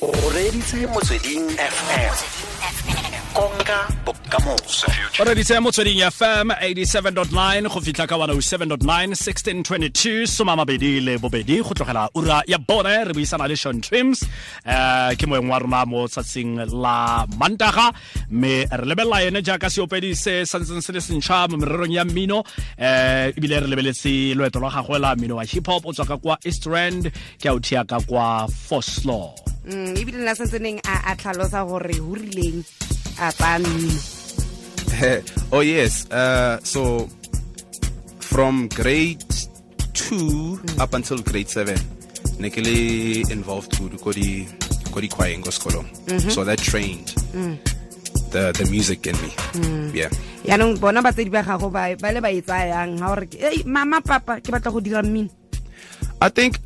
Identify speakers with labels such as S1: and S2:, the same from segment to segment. S1: reditse motsweding fm konka bokamoso
S2: o reditse motsweding fm 87.9 go fitlha ka 107.9 1622 somamabedi le bobedi go tlogela ura ya bone re buisana le sean trims um ke moeng wa rona mo tsatsing la mantaga mme re lebelela ene jaaka seopedi se santseng se le sentšha mo mererong ya mmino um ebile re lebeletse loeto lwa gagwe la mmino wa hip hop o tswa ka kwa eastrand ke a o thea ka kwa foslo
S3: Mm, ebile nna santse neng a a tlhalosa gore ho rileng a tsaya mmino
S4: oh yes. Uh, so from grade two up until grade seven, Nikele involved with Kodi Kodi Choir in Goskolo. So that trained the the music in me. Yeah.
S3: yaanong bona batsedi ba gago ba ba le ba e tsayang ga gore ei mama papa ke batla go dira mmino
S4: I think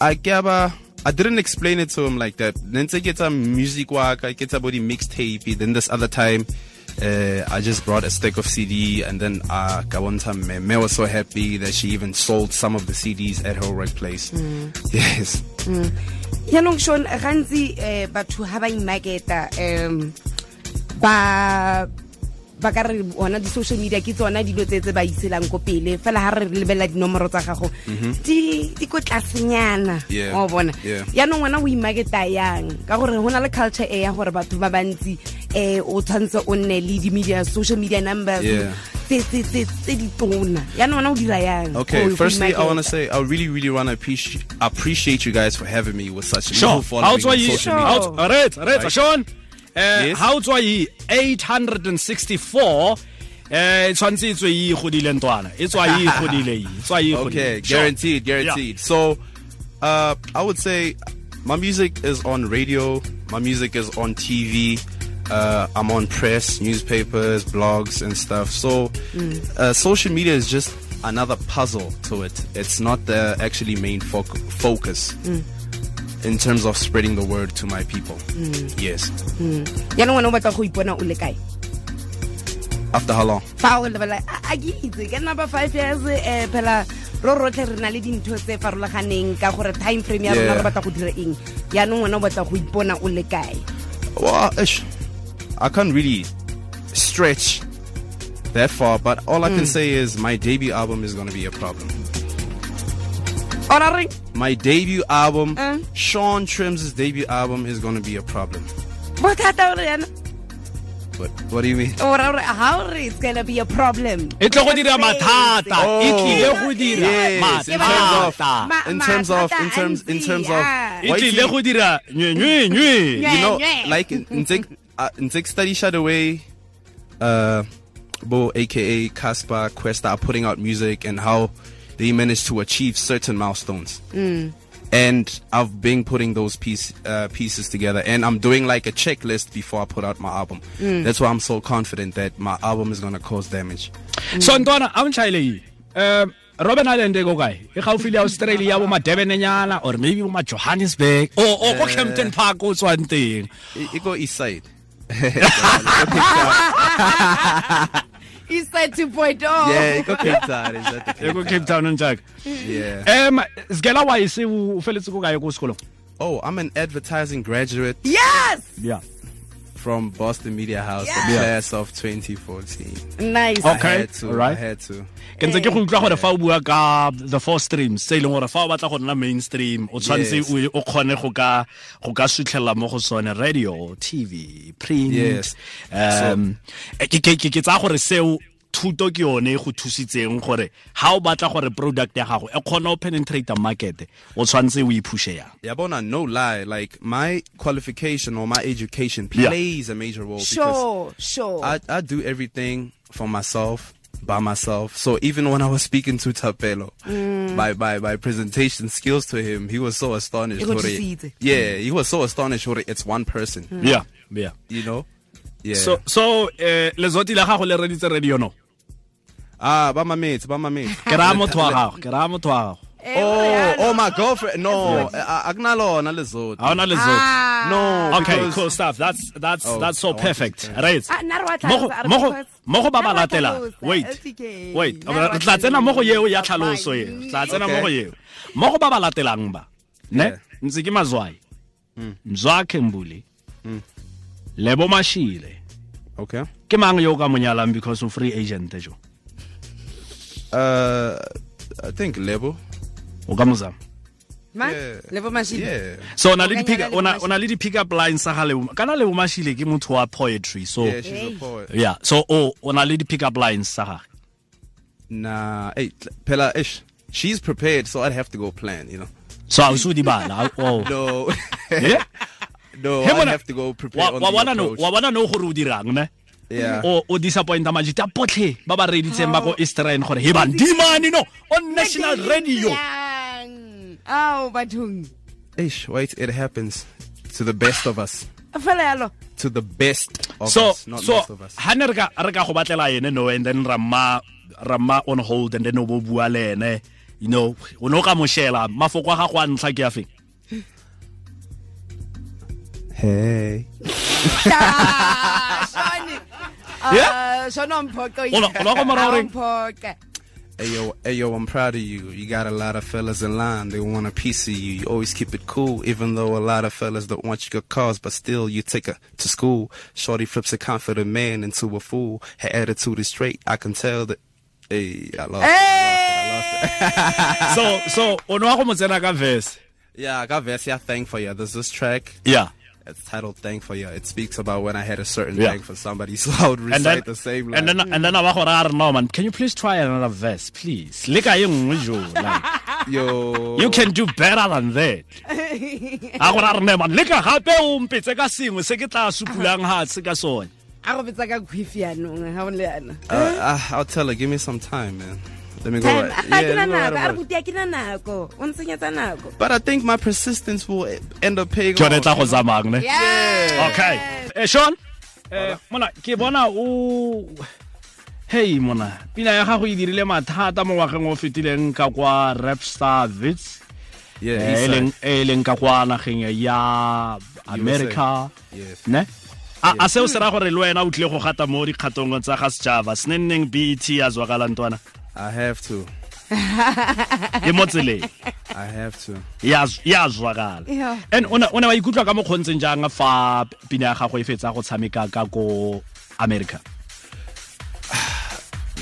S4: I gaba I didn't explain it to him like that. Then to get some music work, I get about the mixtape. Then this other time, uh, I just brought a stack of CD, and then uh, Kawanta me, me was so happy that she even sold some of the CDs at her workplace. Yes,
S3: yaanong shon gantsi um batho ga ba imaketa um ba ba ka re ona di-social media ke tsona dilo tse tse ba itshelang ko pele fela ga re lebelela dinomoro tsa gago di di ko tlasenyana
S4: Mhm. Yeah.
S3: o bona
S4: Yeah.
S3: yaanong ngwana o imaketa yang ka gore go na le culture e ya gore batho ba bantsi um o tshwanetse o nne le di-media social media numbers
S4: Yeah.
S3: tse- tse tse- tse di tona yaanong ngwana o dira yang go-
S4: Okay,
S3: go
S4: firstly, I want
S3: imaketa?
S4: to say I really, really want to appreciate appreciate you guys for having me with such a
S2: Sure.
S4: little
S2: How
S4: following
S2: old's
S4: on
S2: you?
S4: social
S3: Sure.
S4: media.
S2: How old- Reetsa, Reetsa,
S4: Right.
S2: Sean. Uh,
S4: Yes.
S2: How old's you? 864. Eh, tshwantse e tswe e godile ntwana e tswa e godile e tswa e godile
S4: Okay,
S2: Sure.
S4: guaranteed, guaranteed. So, uh, I would say my music is on radio, my music is on TV, uh, I'm on press, newspapers, blogs, and stuff. So, uh, social media is just another puzzle to it. It's not the actually main foc- focus in terms of spreading the word to my people. Yes.
S3: yaanong ngwana o batla go ipona o le kae
S4: After how long?
S3: fa o lebelela a a ke itse ka nna ba five years um phela ro rotlhe re na le dintho tse farologaneng ka gore time frame ya rona
S4: Yeah.
S3: re batla go dira eng yaanong ngwana o batla go ipona o le kae
S4: Well, ish. I can't really stretch that far, but all I can say is my debut album is going to be a problem.
S3: ora reng
S4: My debut album,
S3: Mm.
S4: Sean Trims' debut album is going to be a problem.
S3: bothata ore yana
S4: But what do you mean?
S3: ora ore how ore it's gonna be a problem
S2: e tlo go dira mathata e
S4: Oh,
S2: tlile go dira
S4: yes, in terms of-
S2: mathata
S3: Ma-
S4: Oh, in terms of, in
S3: mathata
S4: terms, in
S3: ntsi,
S4: terms of,
S3: ah.
S2: e tlile go dira nywenywenye
S4: you know,
S3: Yeah, yeah.
S4: like in take uh, in take study shadow away, uh, Bo aka Casper Questa are putting out music and how they managed to achieve certain milestones. And I've been putting those piece, uh, pieces together, and I'm doing like a checklist before I put out my album. That's why I'm so confident that my album is gonna cause damage.
S2: so ntwana a ntšhaele e um robin island e ko kae e gaufi le australia bo madebenenyana or maybe bo majohannesburg o o ko campton park o tswang teng
S4: I- I go east side.
S3: e said two point oh
S4: Yeah, I go Cape Town. Is that the
S2: e ko
S4: Cape
S2: cape
S4: Town?
S2: town njaka
S4: Yeah.
S2: um sekela wa ese o feletse ko kae ko sekolong
S4: Oh, I'm an advertising graduate
S3: yes
S2: yeah
S4: from Boston Media House, the
S3: Yeah.
S4: class of 2014.
S3: nice
S2: Okay.
S4: I had to.
S2: alright.
S4: I had to.
S2: ke ntse ke
S3: Eh,
S2: go utlwa gore fa o bua ka the four streams se e leng gore fa o batla go nna mainstream o tshwanetse
S4: Yes.
S2: o- o kgone go ka go ka sutlhelela mo go sone radio tv print
S4: Yes.
S2: um e- ke- ke ke tsaya gore seo thuto ke yone e go thusitseng gore ga o batla gore product ya gago e kgone go penetrate market o tshwanetse o iphushe yang
S4: Yabona, no lie. Like my qualification or my education
S2: Yeah.
S4: plays a major role
S3: Eh, sure sure
S4: because I, I do everything for myself. By myself, so even when I was speaking to Tapelo,
S3: Mm.
S4: my, my my presentation skills to him, he was so astonished.
S3: He got to
S4: Hore-
S3: see it. Mm.
S4: yeah, he was so astonished. Hore, It's one person,
S2: yeah yeah
S4: you know. Yeah.
S2: so so eh lezoti la gago le reditse radio no
S4: ah, by my mates, by my mates.
S2: ke raya motho wa gago ke raya motho wa gago
S3: Eh, ore
S4: Oh,
S3: yana.
S4: oh my girlfriend. No, Agnalo, Nalizot.
S2: ga ona lezoti
S3: Ah.
S4: No.
S2: okay
S4: because-
S2: cool stuff that's that's
S4: Oh,
S2: that's
S4: I
S2: so
S4: want to
S2: perfect
S4: explain.
S2: right
S3: Ah, nna re wa
S2: Mo go-
S3: tlhalosa,
S2: mo go-
S3: re tlhalosa.
S2: mo go ba ba
S3: Nna re wa
S2: latelang
S3: tlhalosa,
S2: wait
S3: LTK.
S2: wait
S3: Nna re wa
S2: re tla tsena mo go yeo ya
S3: tlhalosa.
S2: tlhaloso eo re tla tsena mo go
S4: Okay.
S2: yeo mo go ba ba latelang ba ne
S4: Yeah. Hmm.
S2: ntse ke mazwai mzwakhe mbuli lebo mashile
S4: Okay.
S2: ke mang yo o ka monyalang because o free agent jo
S4: Uh, I think Lebo.
S2: o ka mozama
S3: Ma?
S4: Yeah.
S3: le bo mashilo
S4: Yeah.
S2: so o na le
S3: O ka
S2: di-pick-
S3: nyala le
S2: o na
S3: Bo
S2: o na le di-pick up lines sa ga Lebo- kana lebo mashile ke motho wa poetry so
S4: Yeah, she's a poet.
S2: yeah so oh, o o na le di-pick up lines sa gage
S4: Nah, hey, Pela Ish. She's prepared, so I'd have to go plan, you know.
S2: so a o se o di bala a- o-
S4: No,
S2: oh. Eh?
S4: no,
S2: He
S4: I'd
S2: bona-
S4: have to go prepare
S2: wa
S4: on
S2: wa
S4: the
S2: bona no
S4: approach.
S2: wa bona no gore o dirang ne Oh,
S4: Yeah.
S2: o o disappointa majiti a botlhe ba ba reditseng ba ko eastern gore he ban dimane no on national radio
S3: ao bathong
S4: Ish, wait, it happens to the best of us.
S3: fela yalo
S4: To the best of
S2: so
S4: us, not
S2: so
S4: most of us.
S2: ha ne re ka re ka go batlela ene no and then ramma ramma on hold and then o bo bua le ene you know o no ka mo shela mafoko a gago a ntlha ke a feng
S4: Hey.
S3: Ah,
S2: Yeah? O lo- o lo go morao reng?
S3: mphoka
S4: Hey yo, hey yo, I'm proud of you. You got a lot of fellas in line. They want a piece of you. You always keep it cool, even though a lot of fellas don't want your cars, but still you take her to school. Shorty flips a confident man into a fool. Her attitude is straight. I can tell that. Hey, I lost, it, I lost it. I lost it. Ah.
S2: so so o no a go mo tsena ka verse
S4: yeah, I got Vesey. I thank for you. There's this track.
S2: yeah
S4: It's titled "Thank for You." It speaks about when I had a certain
S2: Yeah.
S4: thank for somebody, so I would
S2: and
S4: recite
S2: then
S4: the same line.
S2: and then and then a ba go ra re no man can you please try another verse please le ka e nngwe jo like
S4: yo,
S2: you can do better than that
S3: Eh,
S2: a go ra re ne man le ka gape o mpetse ka sengwe se ke tla supulang ha se ka sone
S3: a go betsa ka kgwifi yanong ga o le yana
S4: Uh, I, I'll tell her. Give me some time, man. Let me go.
S3: Time.
S4: right-
S3: Ah, ke na
S4: let
S3: nako a
S4: me go right
S3: re
S4: about it.
S3: buti a ke na nako o ntshenyetsa nako
S4: but I think my persistence will e- end up paying
S2: ke yone e
S4: off.
S2: tla go zamang ne
S3: Yeah.
S2: okay eh Sean eh mona ke bona o hey mona pina ya gago e dirile mathata mo ngwageng o fetileng ka kwa rap star vits eh,
S4: Yeah,
S2: e
S4: Eastside.
S2: leng- e leng ka kwa nageng ya america
S4: Yes.
S2: ne a a se o se ra gore le wena o tlile go gata mo dikgatong tsa ga sejava senenneng bet a zwakalang twana
S4: I have to.
S2: e mo tseleng
S4: I have to.
S2: ya ya zwakala
S3: Yeah.
S2: and ona ona wa ikutlwa ka mokgontseng jang fa pina ya gago e fetsa go tshameka ka ko america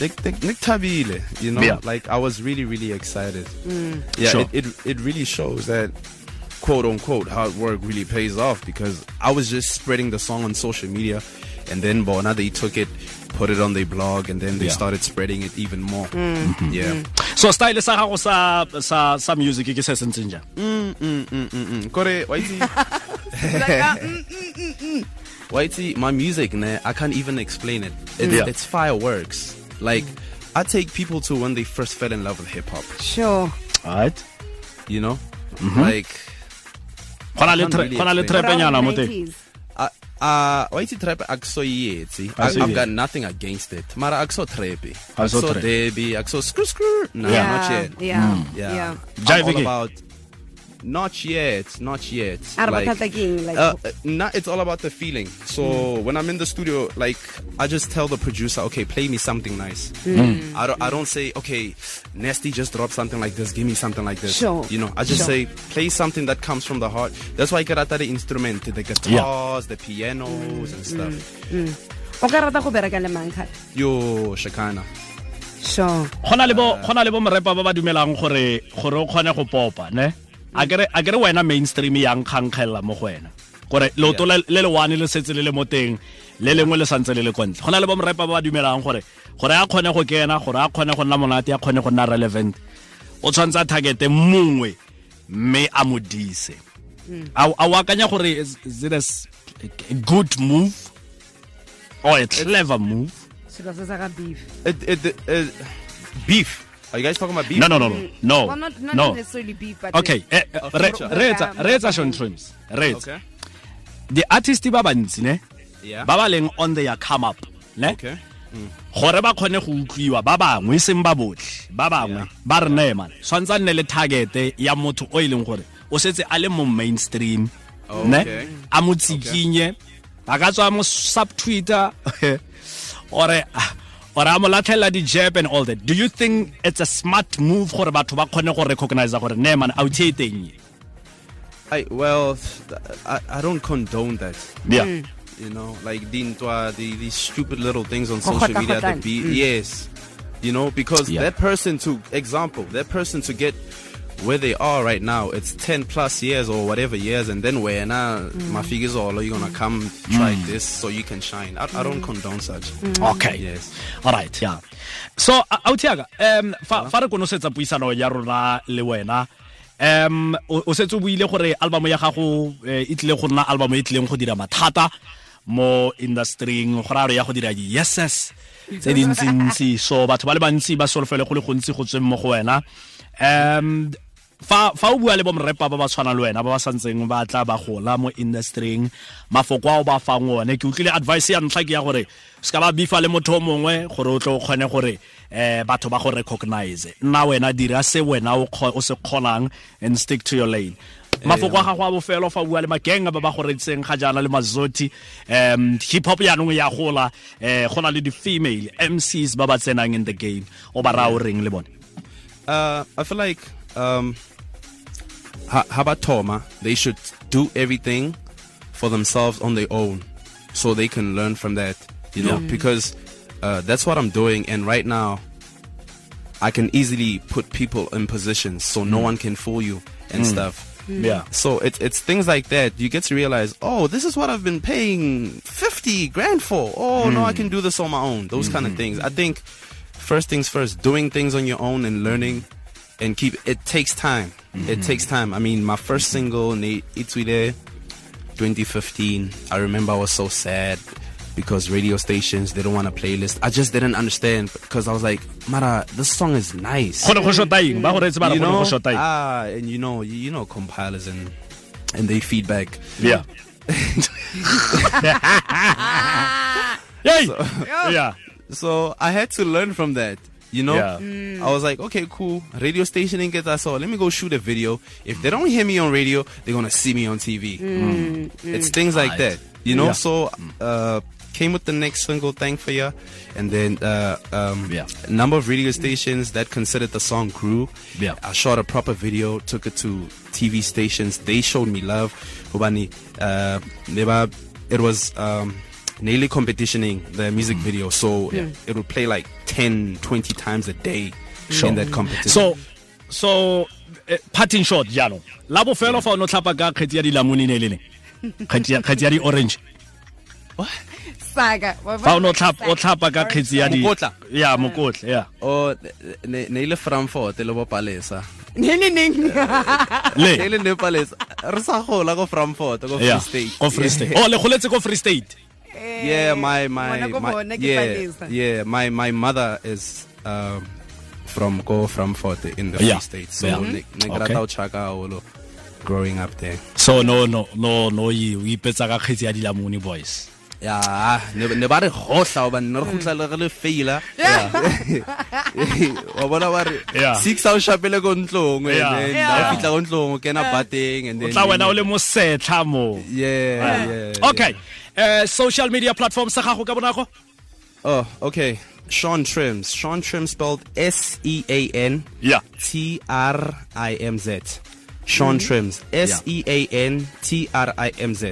S4: Nick, Nick, Nick Tabile, you know,
S2: Yeah.
S4: like I was really, really excited. Yeah,
S2: Sure.
S4: it, it it really shows that quote unquote hard work really pays off because I was just spreading the song on social media, and then Bona they took it, put it on their blog, and then they
S2: Yeah. Mm-hmm.
S4: started spreading it even more. Yeah.
S2: so style sa gago sa sa sa music ke se se ntseng jang
S4: Mm, Kore, Whitey, Whitey, my music, man, I can't even explain it. It's,
S2: Yeah.
S4: it's fireworks. Like, I take people to when they first fell in love with hip hop.
S3: sure
S2: right
S4: You know, like.
S2: gona le
S4: Can't
S2: tre
S4: really
S2: gona le
S4: explain.
S2: trepenyana mo teng
S3: Nineties.
S4: Uh, uh, waiti trap akusoyetsi.
S2: Ah, so
S4: I've
S2: yetsi.
S4: got nothing against it. Mara akso trepi.
S2: Ah, so
S4: Akso
S2: trap.
S4: debi. Akso screw screw. Nah,
S2: Yeah. Mm.
S4: not yet.
S3: yeah
S4: Yeah.
S3: yeah
S2: Jive
S4: I'm all
S2: again.
S4: about. Not yet. Not yet.
S3: Ara bothata ke eng, like- Hmm.
S4: uh, uh, nah, it's all about the feeling. So when I'm in the studio, like I just tell the producer, okay, play me something nice.
S3: Hmm.
S2: Hmm.
S4: I don't. I don't say, okay, nasty, just drop something like this. Give me something like this.
S3: Sure.
S4: You know, I just
S3: Sure.
S4: say, play something that comes from the heart. That's why I get out that instrument, the guitars, the pianos, and stuff.
S3: Hmm. o ka rata go bereka le mang gape
S4: Yo, Shakana.
S3: sure
S2: gona le bo gona le bo morepa ba ba dumelang gore gore o kgone go popa ne a kere a kere wena mainstream yang khankgella mo go wena gore leoto le le le one le setse le le mo teng le lengwe le santse le le kontle gona le bo morepa ba ba dumelang gore gore a kgone go kena gore a kgone go nna monate a kgone go nna relevant o tshwanetse a targete mongwe mme a mo dise a a o akanya gore is is it a s- a good move or a clever move
S3: selo se sa ga beef
S4: It, it, it, beef. Are you guys talking about beef?
S2: no no no no no
S3: well not not
S2: no
S3: necessarily beef but
S2: okay eh, eh, re-
S4: future.
S2: reetsa reetsa sean trims reetsa
S4: Um, Okay.
S2: di-artist ba bantsi ne
S4: Yeah.
S2: ba ba leng on their come up ne
S4: Okay.
S2: gore ba kgone go utlwiwa ba bangwe e seng ba botlhe ba bangwe ba re nee man tshwanetse a nne le targete ya motho o e leng gore o setse a le mo mainstream
S4: Okay.
S2: ne a mo tsikinye ba ka tswa mo sub twitter ore ore a mo latlhelela di-jap and all that do you think it's a smart move gore batho ba kgone go recognize gore nee man a o tshee teng e?"
S4: I well, I, I don't condone that.
S2: Yeah.
S4: You know, like dintwa, the these stupid little things on
S3: Go
S4: social
S3: hota
S4: media.
S3: hotan.
S4: That be
S3: Mm.
S4: yes, you know, because
S2: Yeah.
S4: that person to example, that person to get where they are right now, it's ten plus years or whatever years, and then where now my figures all you're gonna come try this so you can shine. I, I don't condone such.
S2: Mm. okay
S4: Mm. Yes.
S2: all right yeah so autiaka um fa fa re konosetsa puisano ya rona le wena um o o setse o buile gore album ya gago eh, e tlile go nna album e tlileng go dira mathata mo industrying go raya ya go dira di-yeses tse dintsintsi so batho ba le bantsi ba solofele go le gontsi go tsweng mo go wena um fa fa o bua le bomrepa ba ba tshwanang le wena ba ba santseng ba tla ba gola mo industrying mafoko a o ba fang one ke utlwile advice ya ntlha ke ya gore se ka ba bifa le motho o mongwe gore o tlo o kgone gore um batho ba go recognize nna wena dira se wena o kgo- o se kgonang and stick to your lane mafoko a gago a bofelo fa o bua le makenga ba ba goretseng ga jaana le mazoti um hip hop yaanong ya gola um go na le di-female mcs ba ba tsenang in the game o ba raya o reng le bone
S4: uh, I feel like um, ha- how about Toma? They should do everything for themselves on their own, so they can learn from that. You know, because uh, that's what I'm doing, and right now, I can easily put people in positions so no one can fool you and stuff.
S2: yeah
S4: So it's it's things like that. You get to realize, oh, this is what I've been paying fifty grand for. Oh no, I can do this on my own. Those kind of things. I think first things first, doing things on your own and learning, and keep it takes time. It takes time. I mean, my first single, Ne- Itwile, 2015. I remember I was so sad because radio stations they don't want a playlist. I just didn't understand because I was like, Mara, this song is nice
S2: kgone go shota eng ba goretse ba re kgone
S4: you know,
S2: go shota eng
S4: ah, and you know, you, you know, compilers and and they feedback.
S2: yeah Yay! yeah
S4: So I had to learn from that. You know,
S2: Yeah.
S4: I was like, okay, cool. Radio station ain't get that so Let me go shoot a video. If they don't hear me on radio, they're gonna see me on TV. It's things like that. You know,
S2: Yeah.
S4: so uh, came with the next single, "Thank for Ya," and then uh, um,
S2: Yeah.
S4: a number of radio stations that considered the song grew.
S2: Yeah.
S4: I shot a proper video, took it to TV stations. They showed me love. Hobani, uh, they were- it was um, nearly competitioning the music
S2: Mm.
S4: video, so
S2: Hmm.
S4: it would play like 10, 20 times a day in that competition.
S2: so so eh, parting shot jaanong la bofelo fa o ne o tlhapa ka kgetsi ya dilamone ne e le leng Kgetsi ya- kgetsi ya di-orange
S3: saga Wa
S2: fa o
S3: bona
S2: ne o tlhapa- o tlhapa ka kgetsi ya di
S4: Mokotla.
S2: ya mokotla yeah
S4: oh, ne ne ile Frankfurt le bo Palesa.
S3: Neng, neng, neng.
S4: Ne
S2: le
S4: ile ne Palesa. Re sa gola ko Frankfurt ko Free
S2: yeah
S4: State.
S2: ko free state o le goletse ko free state
S4: yeah, my my,
S3: Bona ko
S4: my
S3: bona ke
S4: yeah,
S3: Palesa.
S4: yeah, my my mother is um, from go from Forte in the
S2: Yeah.
S4: Free State, so
S2: Yeah.
S4: ne- ne
S2: Okay.
S4: grata ho tjhaka haholo growing up there.
S2: so no no no no ye o ipetsa ka kgetsi ya dilamone boys
S4: Yeah, ah, ne ne ba re gohla ba ne re khutla le re le faila. Wa bona ba
S2: Yeah.
S4: re six hours shapele go ntlong and
S2: Yeah.
S4: then
S3: Yeah.
S4: ba fitla go ntlong o kena batting and
S2: o
S4: then
S2: tla wena o le mosetlha mo
S4: Yeah, yeah.
S2: okay uh, social media platform sa gago ka bonako
S4: Oh, okay. Sean Trims. Sean Trims spelled S E A N
S2: Yeah.
S4: T R I M Z. Sean Trims. S E A N T R I M Z.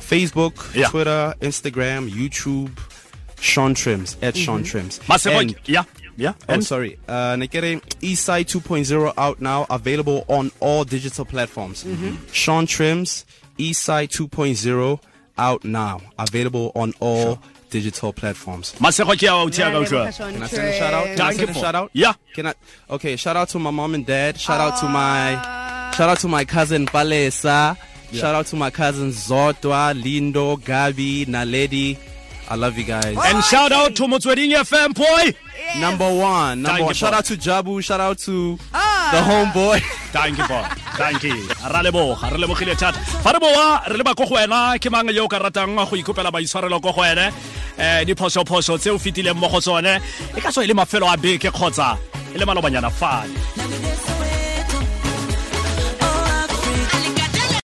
S4: Facebook,
S2: Yeah.
S4: Twitter, Instagram, YouTube. Sean Trims at Sean Trims.
S2: masego
S4: And-
S2: yeah yeah
S4: Oh,
S2: and-
S4: sorry. Uh, Nekere Eastside 2.0 out now, available on all digital platforms. Sean Trims, Eastside 2.0 out now, available on all digital platforms.
S2: masego ke ao tia ka
S3: Ra
S2: utlwa
S3: leboga, Sean
S4: Can I send a shout out? Can I
S2: Thank
S4: send
S2: you
S4: a
S2: for-
S4: shout out?
S2: Yeah.
S4: Can I? Okay. Shout out to my mom and dad. Shout out to my, shout out to my cousin Palesa. Shout out to my cousins Zotwa, Lindo, Gabi, Naledi. I love you guys.
S2: and shout out to motsweding fm boy
S4: Number
S2: Thank
S4: one, number
S2: you,
S4: one. Shout
S2: boy.
S4: out to Jabu. Shout out to the homeboy.
S2: thank you boy thank you ra leboga re lebogile thata fa re boa re leba ko go wena ke mang yo o ka ratang go ikopela maitshwarelo ko go wene um diphosophoso tse o fetileng mo go tsone e ka tswa e le mafelo a beke kgotsa e le malobanyana fane